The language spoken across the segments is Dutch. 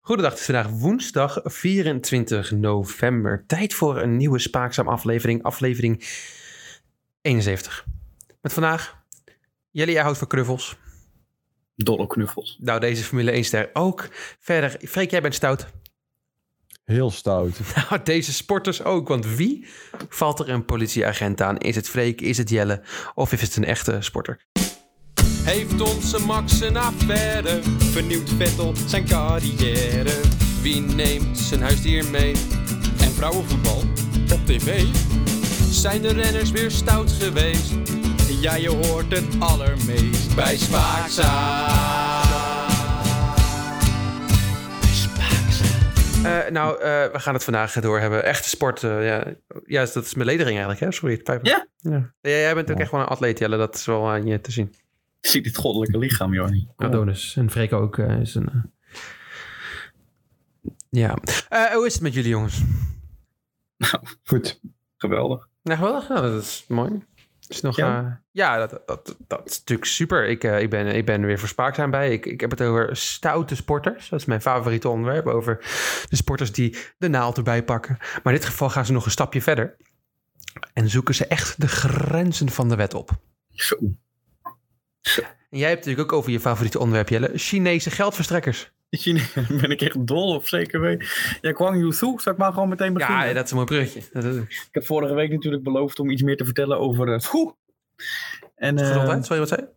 Goedendag, het is vandaag woensdag 24 november. Tijd voor een nieuwe Spaakzaam aflevering, aflevering 71. Met vandaag, Jelly, jij houdt van knuffels. Dolle knuffels. Nou, deze Formule 1 ster ook. Verder, Freek, jij bent stout. Heel stout. Nou, deze sporters ook, want wie valt er een politieagent aan? Is het Freek, is het Jelle of is het een echte sporter? Heeft onze Max een affaire? Vernieuwt Vettel zijn carrière? Wie neemt zijn huisdier mee? En vrouwenvoetbal op tv? Zijn de renners weer stout geweest? Ja, je hoort het allermeest bij Spaakzaam. Eh, nou, eh, we gaan het vandaag door hebben. Echte sport, eh, ja. ja, dat is mijn ledering eigenlijk, hè? Sorry, het pijp me. Ja. ja. Ja, Jij bent ook Ja. echt wel een atleet, Jelle. Dat is wel aan je te zien. Ik zie dit goddelijke lichaam, Jorni. Adonis. En Freek ook eh, is een... eh, Ja. Eh, hoe is het met jullie, jongens? Goed. Geweldig. Nou, geweldig. Nou, dat is mooi. Is nog, eh, Ja. ja, ja dat, dat, dat is natuurlijk super. Ik, eh, ik, ben, ik ben er weer verspaakzaam bij. Ik, ik heb het over stoute sporters. Dat is mijn favoriete onderwerp. Over de sporters die de naald erbij pakken. Maar in dit geval gaan ze nog een stapje verder. En zoeken ze echt de grenzen van de wet op. Zo. En jij hebt natuurlijk ook over je favoriete onderwerp, Jelle. Chinese geldverstrekkers. China ben ik echt dol op, zeker weten. Ja, Kwang Yuzu, zou ik maar gewoon meteen beginnen? Ja, dat is een mooi bruggetje. Dat is Ik heb vorige week natuurlijk beloofd om iets meer te vertellen over... eh Soe. En, eh, gezondheid, zal je wat zeggen?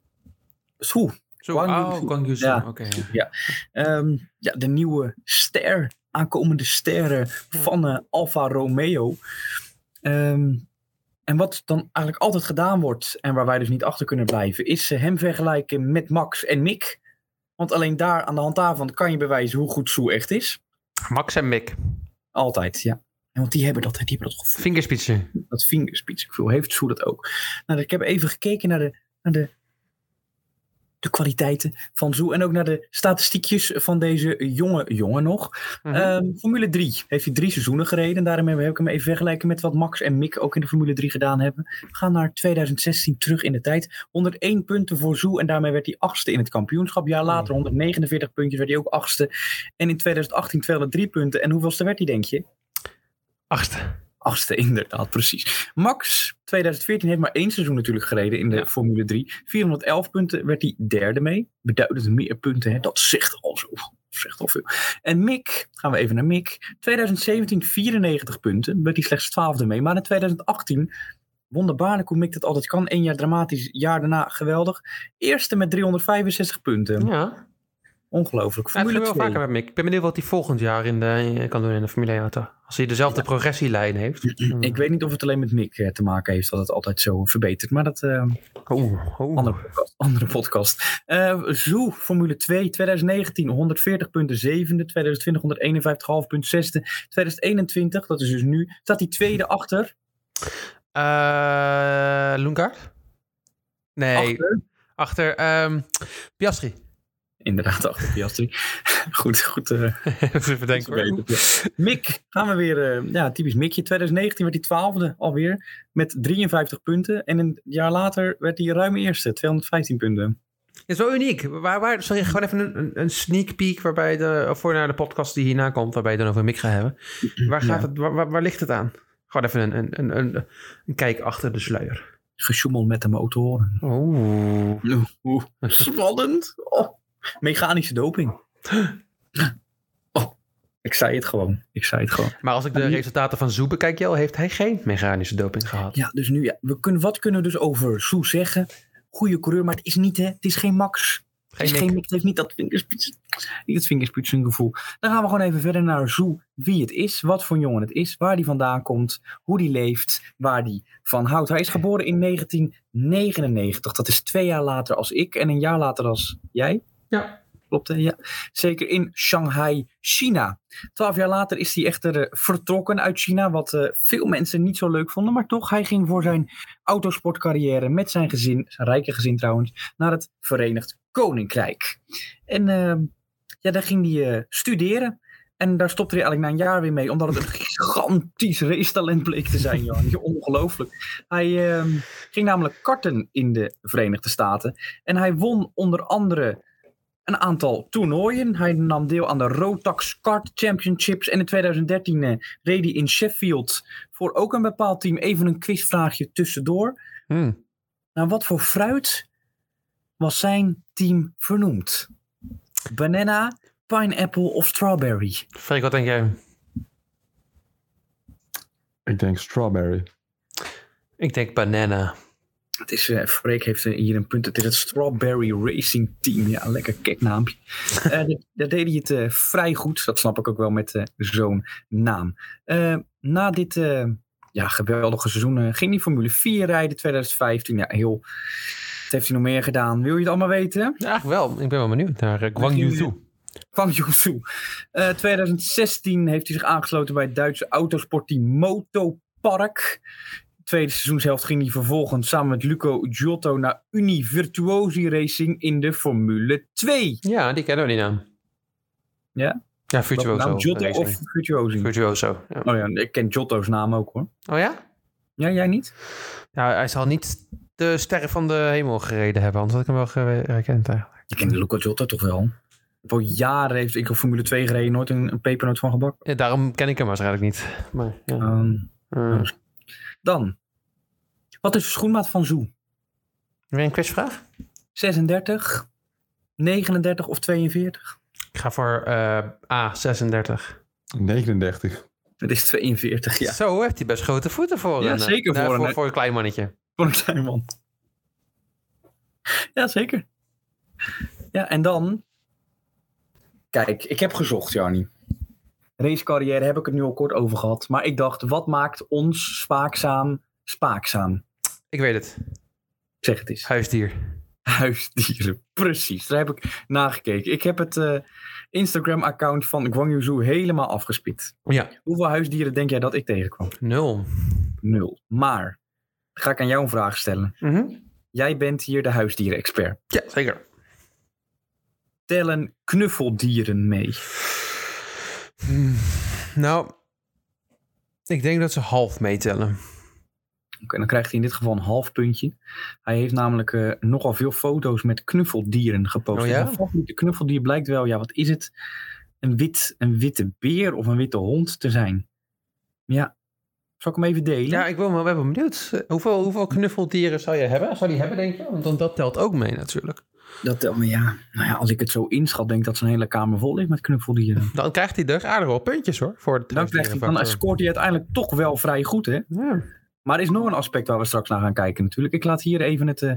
Soe. Zo, Guang oh, Yuzu. Guang Yuzu. Ja. Oké. ja. Ehm, ja, de nieuwe ster, aankomende sterren van eh, Alfa Romeo. Ehm, en wat dan eigenlijk altijd gedaan wordt, en waar wij dus niet achter kunnen blijven, is eh, hem vergelijken met Max en Mick. Want alleen daar, aan de hand daarvan, kan je bewijzen hoe goed Soe echt is. Max en Mick. Altijd, ja. En Want die hebben dat, die hebben dat gevoel. Fingerspitsen. Dat vingerspitsengevoel heeft Soe dat ook. Nou, ik heb even gekeken naar de, naar de, de kwaliteiten van Soe. En ook naar de statistiekjes van deze jonge jongen nog. Mhm. Ehm, Formule 3 heeft hij drie seizoenen gereden. En daarom heb heb ik hem even vergelijken met wat Max en Mick ook in de Formule 3 gedaan hebben. We gaan naar 2016 terug in de tijd. 101 punten voor Zoe en daarmee werd hij achtste in het kampioenschap. Jaar later 149 puntjes werd hij ook achtste. En in 2018 203 punten. En hoeveelste werd hij denk je? Achtste. Achtste inderdaad, precies. Max 2014 heeft maar één seizoen natuurlijk gereden in de Ja. Formule 3. 411 punten werd hij derde mee. Beduidend meer punten, hè? dat zegt al zo. Zegt al veel. En Mick, gaan we even naar Mick. 2017 94 punten, werd hij slechts twaalfde mee. Maar in 2018, wonderbaarlijk hoe Mick dat altijd kan. Eén jaar dramatisch, jaar daarna geweldig. Eerste met 365 punten. Ja. Ongelooflijk. Ja, dat Formule gebeurt 2. wel vaker met Mick. Ik ben benieuwd wat hij volgend jaar in de, eh, kan doen in de Formule 1 auto. Als hij dezelfde progressielijn heeft. Ik weet niet of het alleen met Mick eh, te maken heeft dat het altijd zo verbetert. Maar dat... eh, Hmm. Oeh, oeh. Andere podcast. Andere podcast. Eh, Zoo, Formule 2, 2019 140 punten zevende, 2020 151,5 punt zesde, 2021, dat is dus nu, staat die tweede achter. Eh, Loenkaart? Nee, achter, achter ehm, Piastri. inderdaad, achter Piastri. goed, goed. eh, Even bedenken hoor. verbeterd, ja. Mick, gaan we weer, eh, ja, typisch Mickje. 2019 werd hij twaalfde alweer, met 53 punten. En een jaar later werd hij ruim eerste, 215 punten. Het is wel uniek. Waar, waar, zal je gewoon even een- een, een sneak peek waarbij de, voor naar de podcast die hierna komt, waarbij je het dan over Mick gaat hebben. Waar, gaat Ja. het, waar, waar, waar ligt het aan? Gewoon even een, een, een, een, een kijk achter de sluier. Gesjoemel met de motoren. Oeh. Oeh, spannend. Oh, mechanische doping. Oh, ik zei het gewoon. Ik zei het gewoon. Maar als ik de resultaten van Zoe bekijk, Jel, heeft hij geen mechanische doping gehad. Ja, dus nu, ja, we kunnen, wat kunnen we dus over Soe zeggen? Goede coureur, maar het is niet, hè? Het is geen Max. Het Geen is Mick. geen Mick. Het heeft niet dat vingerspits- niet dat vingerspitsengevoel. Dan gaan we gewoon even verder naar Soe. Wie het is, wat voor jongen het is, waar die vandaan komt, hoe die leeft, waar die van houdt. Hij is geboren in 1999. Dat is twee jaar later als ik en een jaar later als jij. Ja. Klopt, hè? ja. Zeker in Shanghai, China. Twaalf jaar later is hij echter eh, vertrokken uit China, wat eh, veel mensen niet zo leuk vonden. Maar toch, hij ging voor zijn autosportcarrière met zijn gezin, zijn rijke gezin trouwens, naar het Verenigd Koninkrijk. En eh, ja, daar ging hij eh, studeren. En daar stopte hij eigenlijk na een jaar weer mee, omdat het een gigantisch racetalent bleek te zijn, Johan. Ongelooflijk. Hij eh, ging namelijk karten in de Verenigde Staten. En hij won onder andere een aantal toernooien. Hij nam deel aan de Rotax Kart Championships. En in 2013 eh, reed hij in Sheffield voor ook een bepaald team even een quizvraagje tussendoor. Hmm. Naar wat voor fruit was zijn team vernoemd? Banana, pineapple of strawberry? Freek, wat denk jij? Ik denk strawberry. Ik denk banana. Het is, eh, Freek heeft eh, hier een punt. Het is het Strawberry Racing Team. Ja, lekker keknaampje. Eh, daar- daar deed hij het eh, vrij goed. Dat snap ik ook wel met eh, zo'n naam. Eh, na dit eh, ja, geweldige seizoen eh, ging hij Formule 4 rijden 2015. Ja, heel... Wat heeft hij nog meer gedaan? Wil je het allemaal weten? Ja, eigenlijk wel. Ik ben wel benieuwd naar eh, Guang Misschien, Yu Zhu. Van Yuzu. Eh 2016 heeft hij zich aangesloten bij het Duitse autosportteam Motopark. Tweede seizoenshelft ging hij vervolgens samen met Luco Giotto naar Uni Virtuosi Racing in de Formule 2. Ja, die kennen we die naam. Ja? Ja, Welke Virtuoso. naam? nou, Giotto Deze of niet. Virtuosi? Virtuoso. Ja. Oh ja, ik ken Giotto's naam ook hoor. Oh ja? Ja, jij niet? Nou, hij zal niet de sterren van de hemel gereden hebben, anders had ik hem wel ge- herkend eigenlijk. Ik ken Luco Giotto toch wel? Voor jaren heeft ik op Formule 2 gereden, nooit een, een pepernoot van gebakken. Ja, daarom ken ik hem waarschijnlijk niet. Maar, ja. Ehm, Eh, dan, wat is de schoenmaat van Zoe? weer een quizvraag? 36, 39 of 42? Ik ga voor eh, A36. 39. Het is 42, ja. Zo heeft hij best grote voeten voor. Ja, een, eh, zeker nou, voor een- voor, voor een klein mannetje. Voor een klein man. Ja, zeker. Ja, en dan... Kijk, ik heb gezocht, Jarni. Racecarrière heb ik het nu al kort over gehad. Maar ik dacht, wat maakt ons spaakzaam spaakzaam? Ik weet het. Zeg het eens. Huisdier. Huisdieren, precies. Daar heb ik nagekeken. Ik heb het eh, Instagram-account van Guang Yuzhu helemaal afgespit. Ja, Hoeveel huisdieren denk jij dat ik tegenkwam? nul. nul. Maar, ga ik aan jou een vraag stellen. Mhm. Jij bent hier de huisdieren-expert. Ja, zeker. Tellen knuffeldieren mee? Hmm. Nou, ik denk dat ze half meetellen. Oké, dan krijgt hij in dit geval een half puntje. Hij heeft namelijk eh, nogal veel foto's met knuffeldieren gepost. Oh ja? En Zijn favoriete knuffeldier blijkt wel, ja, wat is het? Een, wit, een witte beer of een witte hond te zijn. Ja. Zal ik hem even delen? Ja, ik ben wel wel benieuwd. Eh, Hoeveel, hoeveel knuffeldieren zou je hebben? Zou die hebben, denk je? Want dan- dat telt ook mee natuurlijk. dat, telt me, ja. Nou ja, als ik het zo inschat, denk ik dat zijn hele kamer vol is met knuffeldieren. Dan krijgt hij er aardig wel puntjes hoor. Voor het Dan, krijgt hij, dan huisdierenfactor. scoort hij uiteindelijk toch wel vrij goed, hè? Ja. Maar er is nog een aspect waar we straks naar gaan kijken natuurlijk. Ik laat hier even het eh,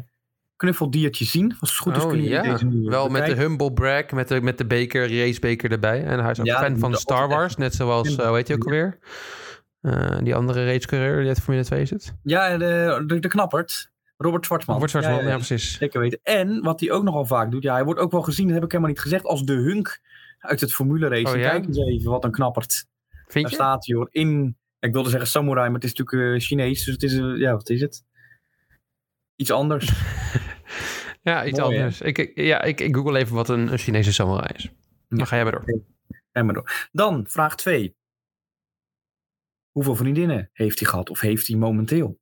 knuffeldiertje zien. Als het goed is Oh, kunnen jullie ja. deze nu Wel met de bekijken. humble brag, met de, met de beker, racebeker erbij. En hij is ook Ja, fan dat van moet Star altijd Wars, net zoals, eh, hoe heet hij ook Ja. alweer? Eh, die andere racecoureur die uit Formule 2 zit. Ja, eh, de, de, de knappert. Robert Zwartman. Wordt zwart Ja, man, ja, ja ja, precies. Zeker weten. En wat hij ook nogal vaak doet. Ja, hij wordt ook wel gezien, dat heb ik helemaal niet gezegd, als de hunk uit het Formule Race. Oh, ja? Kijk eens even wat een knappert. Vind Daar je? staat hij hoor. In, ik wilde zeggen samurai, maar het is natuurlijk eh, Chinees. Dus het is, eh, ja, wat is het? Iets anders. Ja, iets Mooi, hè? anders. Ik, ik- ja, ik, ik google even wat een, een Chinese samurai is. Dan ga jij maar door. En maar door. Dan, vraag 2. Hoeveel vriendinnen heeft hij gehad of heeft hij momenteel?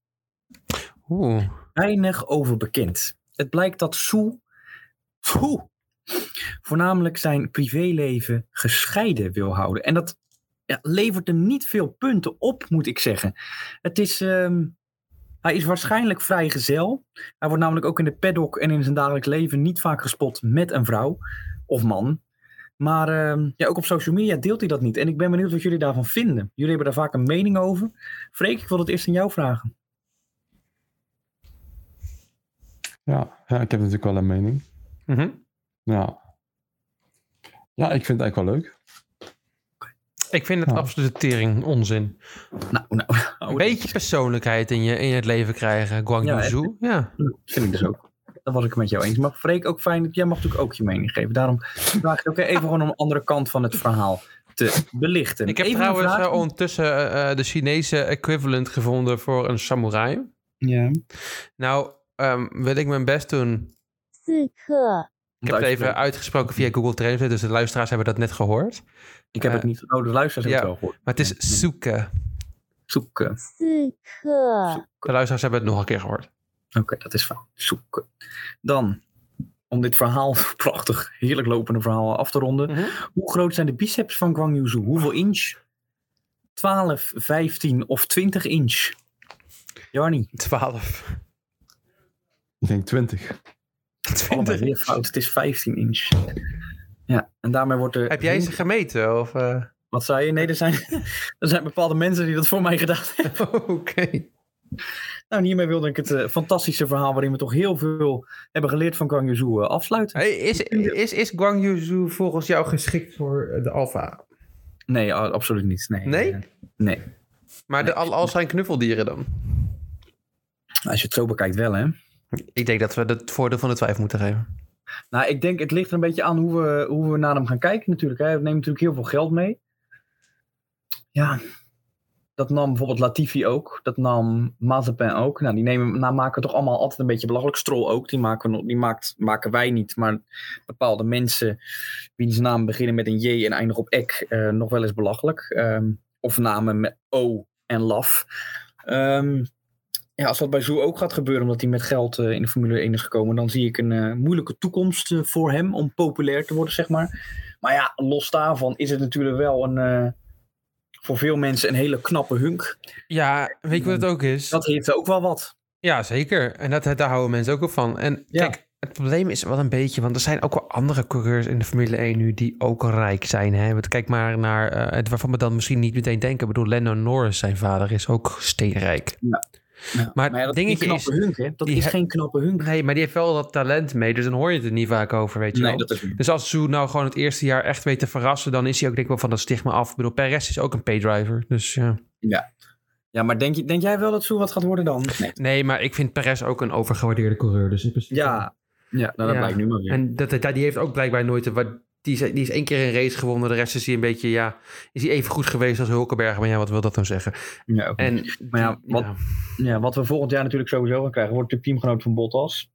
Oeh. weinig over bekend. Het blijkt dat Soe, Soe voornamelijk zijn privéleven gescheiden wil houden. En dat ja, levert hem niet veel punten op, moet ik zeggen. Het is, ehm, hij is waarschijnlijk vrijgezel. Hij wordt namelijk ook in de paddock en in zijn dagelijks leven niet vaak gespot met een vrouw of man. Maar ehm, ja, ook op social media deelt hij dat niet. En ik ben benieuwd wat jullie daarvan vinden. Jullie hebben daar vaak een mening over. Freek, ik wil het eerst aan jou vragen. Ja, ja, ik heb natuurlijk wel een mening. Mhm. Ja. Ja, ik vind het eigenlijk wel leuk. Ik vind het Oh. Ja. absoluut tering onzin. Nou, nou, een beetje persoonlijkheid in, je, in het leven krijgen. Guang Ja, Yu echt. Zhu. Ja. Vind ik dus ook. Dat was ik met jou eens. Maar Freek, ook fijn. dat Jij mag natuurlijk ook je mening geven. Daarom vraag ik ook even gewoon om een andere kant van het verhaal te belichten. Ik heb Even een trouwens vraag- eh, ondertussen eh, eh, de Chinese equivalent gevonden voor een samurai. Ja. Nou, ehm, wil ik mijn best doen. 刺客， Ik heb het even uitgesproken via Google Translate, dus de luisteraars hebben dat net gehoord. Ik heb het eh, niet. Oh, de luisteraars ja. hebben het wel gehoord. Maar het is Suke. Zoeken. 刺客， De luisteraars hebben het nog een keer gehoord. Oké, dat is fijn. Zoeken. Dan, om dit verhaal, prachtig, heerlijk lopende verhaal af te ronden. Mhm. Hoe groot zijn de biceps van Guang Yuzu? Hoeveel inch? 12, 15 of 20 inch? Jarnie, 12. Ik denk 20. 20. allebei weer fout. Het is 15 inch. Ja, en daarmee wordt er... Heb jij ze gemeten? Of, eh? Wat zei je? Nee, er zijn, er zijn bepaalde mensen die dat voor mij gedaan hebben. Oké. Nou, en hiermee wilde ik het eh, fantastische verhaal waarin we toch heel veel hebben geleerd van Kang Yuzu eh, afsluiten. Hey, is, is, is Guang Yuzu volgens jou geschikt voor eh, de Alfa? Nee, a- absoluut niet. Nee. Nee? Eh, nee. Maar de, al, al zijn knuffeldieren dan? Als je het zo bekijkt wel, hè. Ik denk dat we het voordeel van de twijfel moeten geven. Nou, ik denk het ligt er een beetje aan hoe we, hoe we naar hem gaan kijken natuurlijk. Hè. Hij neemt natuurlijk heel veel geld mee. Ja, dat nam bijvoorbeeld Latifi ook. Dat nam Mazepin ook. Nou, die nemen, nou maken we toch allemaal altijd een beetje belachelijk. Strol ook, die, maken, we, nog- die maakt, maken wij niet. Maar bepaalde mensen wiens naam beginnen met een J en eindigen op ek, eh, nog wel eens belachelijk. Ehm, of namen met O en Laf. Ehm, ja, als dat bij Zoe ook gaat gebeuren, omdat hij met geld eh, in de Formule 1 is gekomen, dan zie ik een eh, moeilijke toekomst eh, voor hem om populair te worden, zeg maar. Maar ja, los daarvan is het natuurlijk wel een, eh, voor veel mensen een hele knappe hunk. Ja, weet je wat het ook is? Dat heeft ook wel wat. Ja, zeker. En dat, daar houden mensen ook op van. En Ja. kijk, het probleem is wel een beetje, want er zijn ook wel andere coureurs in de Formule 1 nu die ook rijk zijn. Hè? Want kijk maar naar, eh, het waarvan we dan misschien niet meteen denken. Ik bedoel, Lando Norris, zijn vader, is ook steenrijk. Ja, Maar ja, dat dingetje is geen knappe is- hunk, hè? Dat die is he- geen knappe hunk. Nee, maar die heeft wel dat talent mee, dus dan hoor je het er niet vaak over, weet je wel. dat is niet. Dus als Zhu nou gewoon het eerste jaar echt weet te verrassen, dan is hij ook denk ik wel van dat stigma af. Ik bedoel, Perez is ook een paydriver, dus ja. Ja, maar denk, je, denk jij wel dat Zoe wat gaat worden dan? Nee. Nee, maar ik vind Perez ook een overgewaardeerde coureur, dus in principe... Ja, ja nou, dat Ja. blijkt nu maar weer. En dat, dat- die heeft ook blijkbaar nooit... de wa- Die is, die is één keer een race gewonnen. De rest is hij een beetje, ja... Is hij even goed geweest als Hulkenberg? Maar ja, wat wil dat nou zeggen? Ja, oké. En Maar ja, wat- Ja, wat we volgend jaar natuurlijk sowieso gaan krijgen, wordt de teamgenoot van Bottas.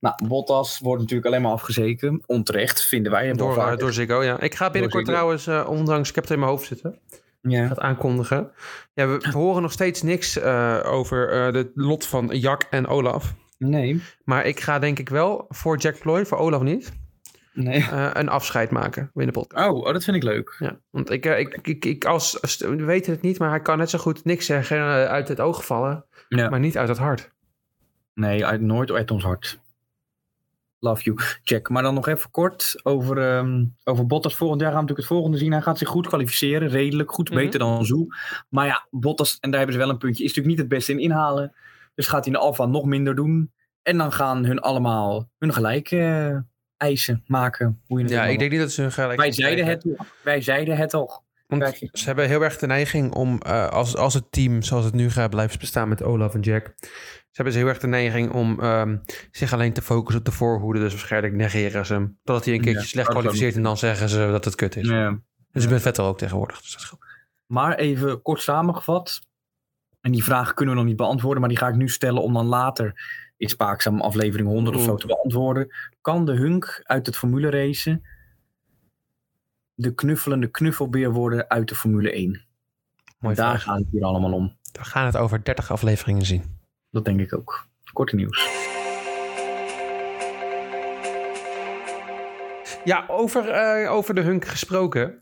Nou, Bottas wordt natuurlijk alleen maar afgezeken. Onterecht, vinden wij. Hebben we door, al vaker- door Ziggo, ja. Ik ga binnenkort Ziggo. trouwens, eh, ondanks... Ik heb het in mijn hoofd zitten. Ja. gaat aankondigen. Ja, we, we horen nog steeds niks eh, over eh, het lot van Jack en Olaf. Nee, Maar ik ga denk ik wel voor Jack Ploy, voor Olaf niet, nee. eh, een afscheid maken binnen de podcast. Oh, oh, dat vind ik leuk. Ja, want ik, eh, ik, ik, ik als, als- we weten het niet, maar hij kan net zo goed niks zeggen eh, uit het oog vallen, Ja. maar niet uit het hart. Nee, uit, nooit uit ons hart. Love you, Jack. Maar dan nog even kort over, ehm, over Bottas. Volgend jaar gaan we natuurlijk het volgende zien. Hij gaat zich goed kwalificeren, redelijk goed, Mhm. beter dan Zoe. Maar ja, Bottas, en daar hebben ze wel een puntje, is natuurlijk niet het beste in inhalen. Dus gaat hij in de Alfa nog minder doen. En dan gaan hun allemaal hun gelijk eh, eisen maken. Hoe je het Ja, ook ik maar denk niet dat ze hun gelijk Wij zeiden het al. Wij zeiden het al. Want ze hebben heel erg de neiging om, eh, als, als het team zoals het nu gaat blijft bestaan met Olaf en Jack, ze hebben ze heel erg de neiging om ehm, zich alleen te focussen op de voorhoede. Dus waarschijnlijk negeren ze hem. Totdat hij een keertje Ja, slecht dat kan kwalificeert en dan zeggen ze dat het kut is. Dus ik ben Vettel ook tegenwoordig. Dus dat is goed. Maar even kort samengevat. En die vraag kunnen we nog niet beantwoorden, maar die ga ik nu stellen om dan later in Spaakzaam aflevering 100 Mm. of zo te beantwoorden. Kan de hunk uit het Formule racen de knuffelende knuffelbeer worden uit de Formule 1? Mooi Daar vraag. gaat het hier allemaal om. We gaan het over 30 afleveringen zien. Dat denk ik ook. Korte nieuws. Ja, over, eh, over de hunk gesproken.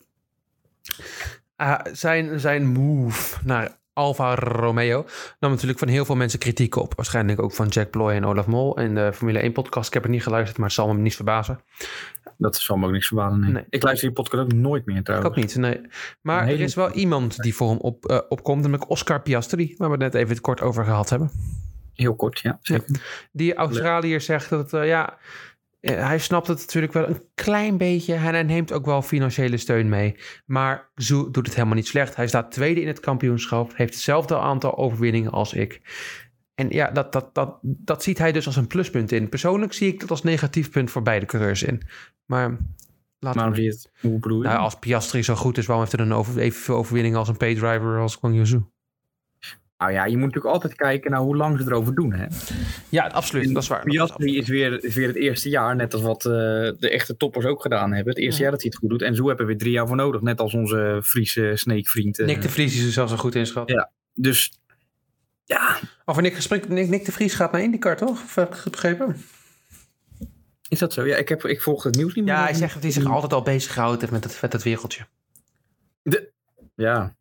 Ah, zijn, zijn move naar Alfa Romeo nam natuurlijk van heel veel mensen kritiek op. Waarschijnlijk ook van Jack Ploy en Olaf Mol in de Formule 1-podcast. Ik heb het niet geluisterd, maar het zal me niet verbazen. Dat zal me ook niks verbazen. nee. Nee. Ik luister die podcast ook nooit meer Ik trouwens. ook niet, nee. Maar Een hele- er is wel iemand die voor hem op, eh, opkomt, namelijk Oscar Piastri, waar we het net even het kort over gehad hebben. Heel kort, ja. zeker. Die Australiër zegt dat, eh, ja, eh, hij snapt het natuurlijk wel een klein beetje. En hij neemt ook wel financiële steun mee. Maar Zhu doet het helemaal niet slecht. Hij staat tweede in het kampioenschap. Heeft hetzelfde aantal overwinningen als ik. En ja, dat, dat, dat, dat ziet hij dus als een pluspunt in. Persoonlijk zie ik dat als negatief punt voor beide coureurs in. Maar laten Maar we... wie het, hoe bedoel je? Nou, als Piastri zo goed is, waarom heeft hij dan over, evenveel overwinningen als een paydriver als Guan Yuzu? nou ja, je moet natuurlijk altijd kijken naar hoe lang ze erover doen. Hè? Ja, absoluut. Dat is waar. Piastri is weer, is weer het eerste jaar, net als wat eh, de echte toppers ook gedaan hebben. Het eerste Ja. jaar dat hij het goed doet. En zo hebben we weer drie jaar voor nodig, net als onze Friese Snake-vriend. eh. Nick de Vries is er zelfs een goed inschat. Dus ja, eh, Of Nick, gesprek, Nick, Nick de Vries gaat naar IndyCar, toch? Of heb ik het begrepen? Is dat zo? Ja, ik, heb, ik volg het nieuws niet meer. Ja, hij zegt dat hij zich altijd al bezighoudt heeft met dat, met dat wereldje. Ja. Dat Ja,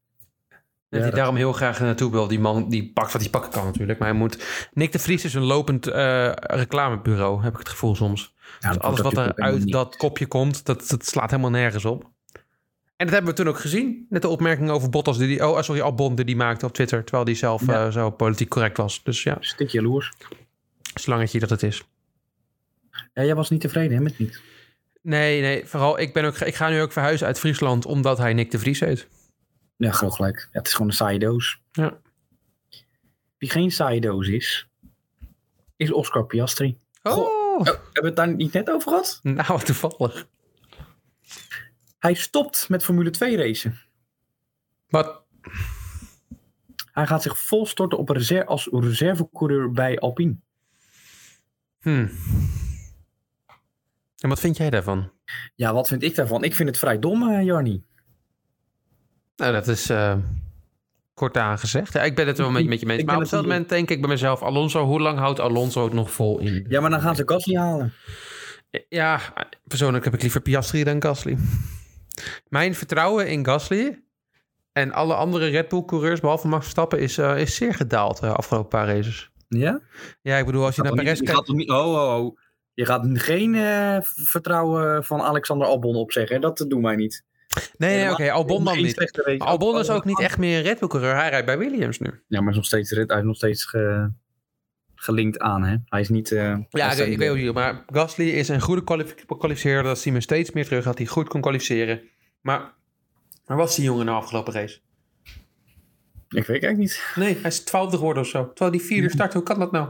hij dat- daarom heel graag er naartoe wil. Die man die pakt wat hij pakken kan natuurlijk. Maar hij moet... Nick de Vries is een lopend eh, reclamebureau, heb ik het gevoel soms. Ja, Dus dat alles wat wordt er natuurlijk helemaal uit niet. dat kopje komt, dat, dat slaat helemaal nergens op. En dat hebben we toen ook gezien. Net de opmerking over Bottas die, die oh sorry, Albon die die maakte op Twitter, terwijl die zelf Ja. eh, zo politiek correct was. Dus ja, Stik jaloers. slangetje dat het is. Ja, jij was niet tevreden hè, met niet. Nee, nee, vooral ik ben ook, ik ga nu ook verhuizen uit Friesland omdat hij Nick de Vries heet. Ja, groot gelijk. Ja, het is gewoon een saaie doos. Ja. Wie geen saaie doos is, is Oscar Piastri. Oh, hebben we het daar niet net over gehad? nou wat toevallig. Hij stopt met Formule 2 racen. Wat? Hij gaat zich vol storten op reserve, als reservecoureur bij Alpine. Hmm. En wat vind jij daarvan? Ja, wat vind ik daarvan? Ik vind het vrij dom, eh, Jarni. Nou, dat is eh, kort aangezegd. Ja, ik ben het wel met, met je Ik eens. ben Maar op het dat wel- moment denk ik bij mezelf... Alonso, hoe lang houdt Alonso het nog vol in? Ja, maar dan gaan ze Gasly halen. Ja, persoonlijk heb ik liever Piastri dan Gasly. Mijn vertrouwen in Gasly en alle andere Red Bull-coureurs... behalve Max Verstappen, is, eh, is zeer gedaald de afgelopen paar races. Ja? Ja, ik bedoel, als je naar Perez je kijkt... gaat toch niet, oh, oh, oh. Je gaat geen eh, vertrouwen van Alexander Albon opzeggen. hè? Dat doen wij niet. Nee, nee, oké, Helemaal Albon dan Geen niet. slechte race. Oh. Maar Albon is ook niet echt meer een Red Bull-coureur. Hij rijdt bij Williams nu. Ja, maar is nog steeds, rit- hij is nog steeds ge- gelinkt aan, hè? Hij is niet... eh, Ja, hij ik, is ik niet- weet het niet. Maar Gasly is een goede kwalif- kwalificeerder. Dat zien we steeds meer terug. Dat hij goed kon kwalificeren. Maar waar was die jongen na afgelopen race? Ik weet eigenlijk niet. Nee, hij is twaalfde geworden of zo. Terwijl die vierde start. Hoe kan dat nou?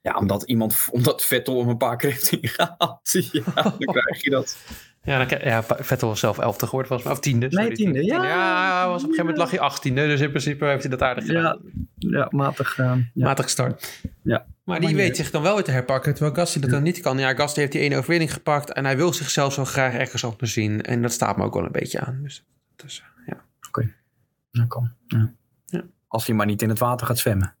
Ja, omdat iemand... Omdat Vettel hem een paar keer heeft ingehaald. Ja, dan krijg je dat. Ja, dan, krijg- ja Vettel was zelf elfde geworden volgens mij. Of tiende. sorry. Nee, tiende, ja. Ja, was op een gegeven moment lag hij achttiende. Dus in principe heeft hij dat aardig gedaan. Ja, ja matig gedaan. Ja. Matig start. Ja. Maar die Maar weet niet. zich dan wel weer te herpakken, terwijl Gasly dat dan niet kan. Ja, Gasly heeft die ene overwinning gepakt en hij wil zichzelf zo graag ergens anders zien. En dat staat me ook wel een beetje aan. Dus, dat is, eh, ja. Dat kan. Ja. Ja. Als hij maar niet in het water gaat zwemmen.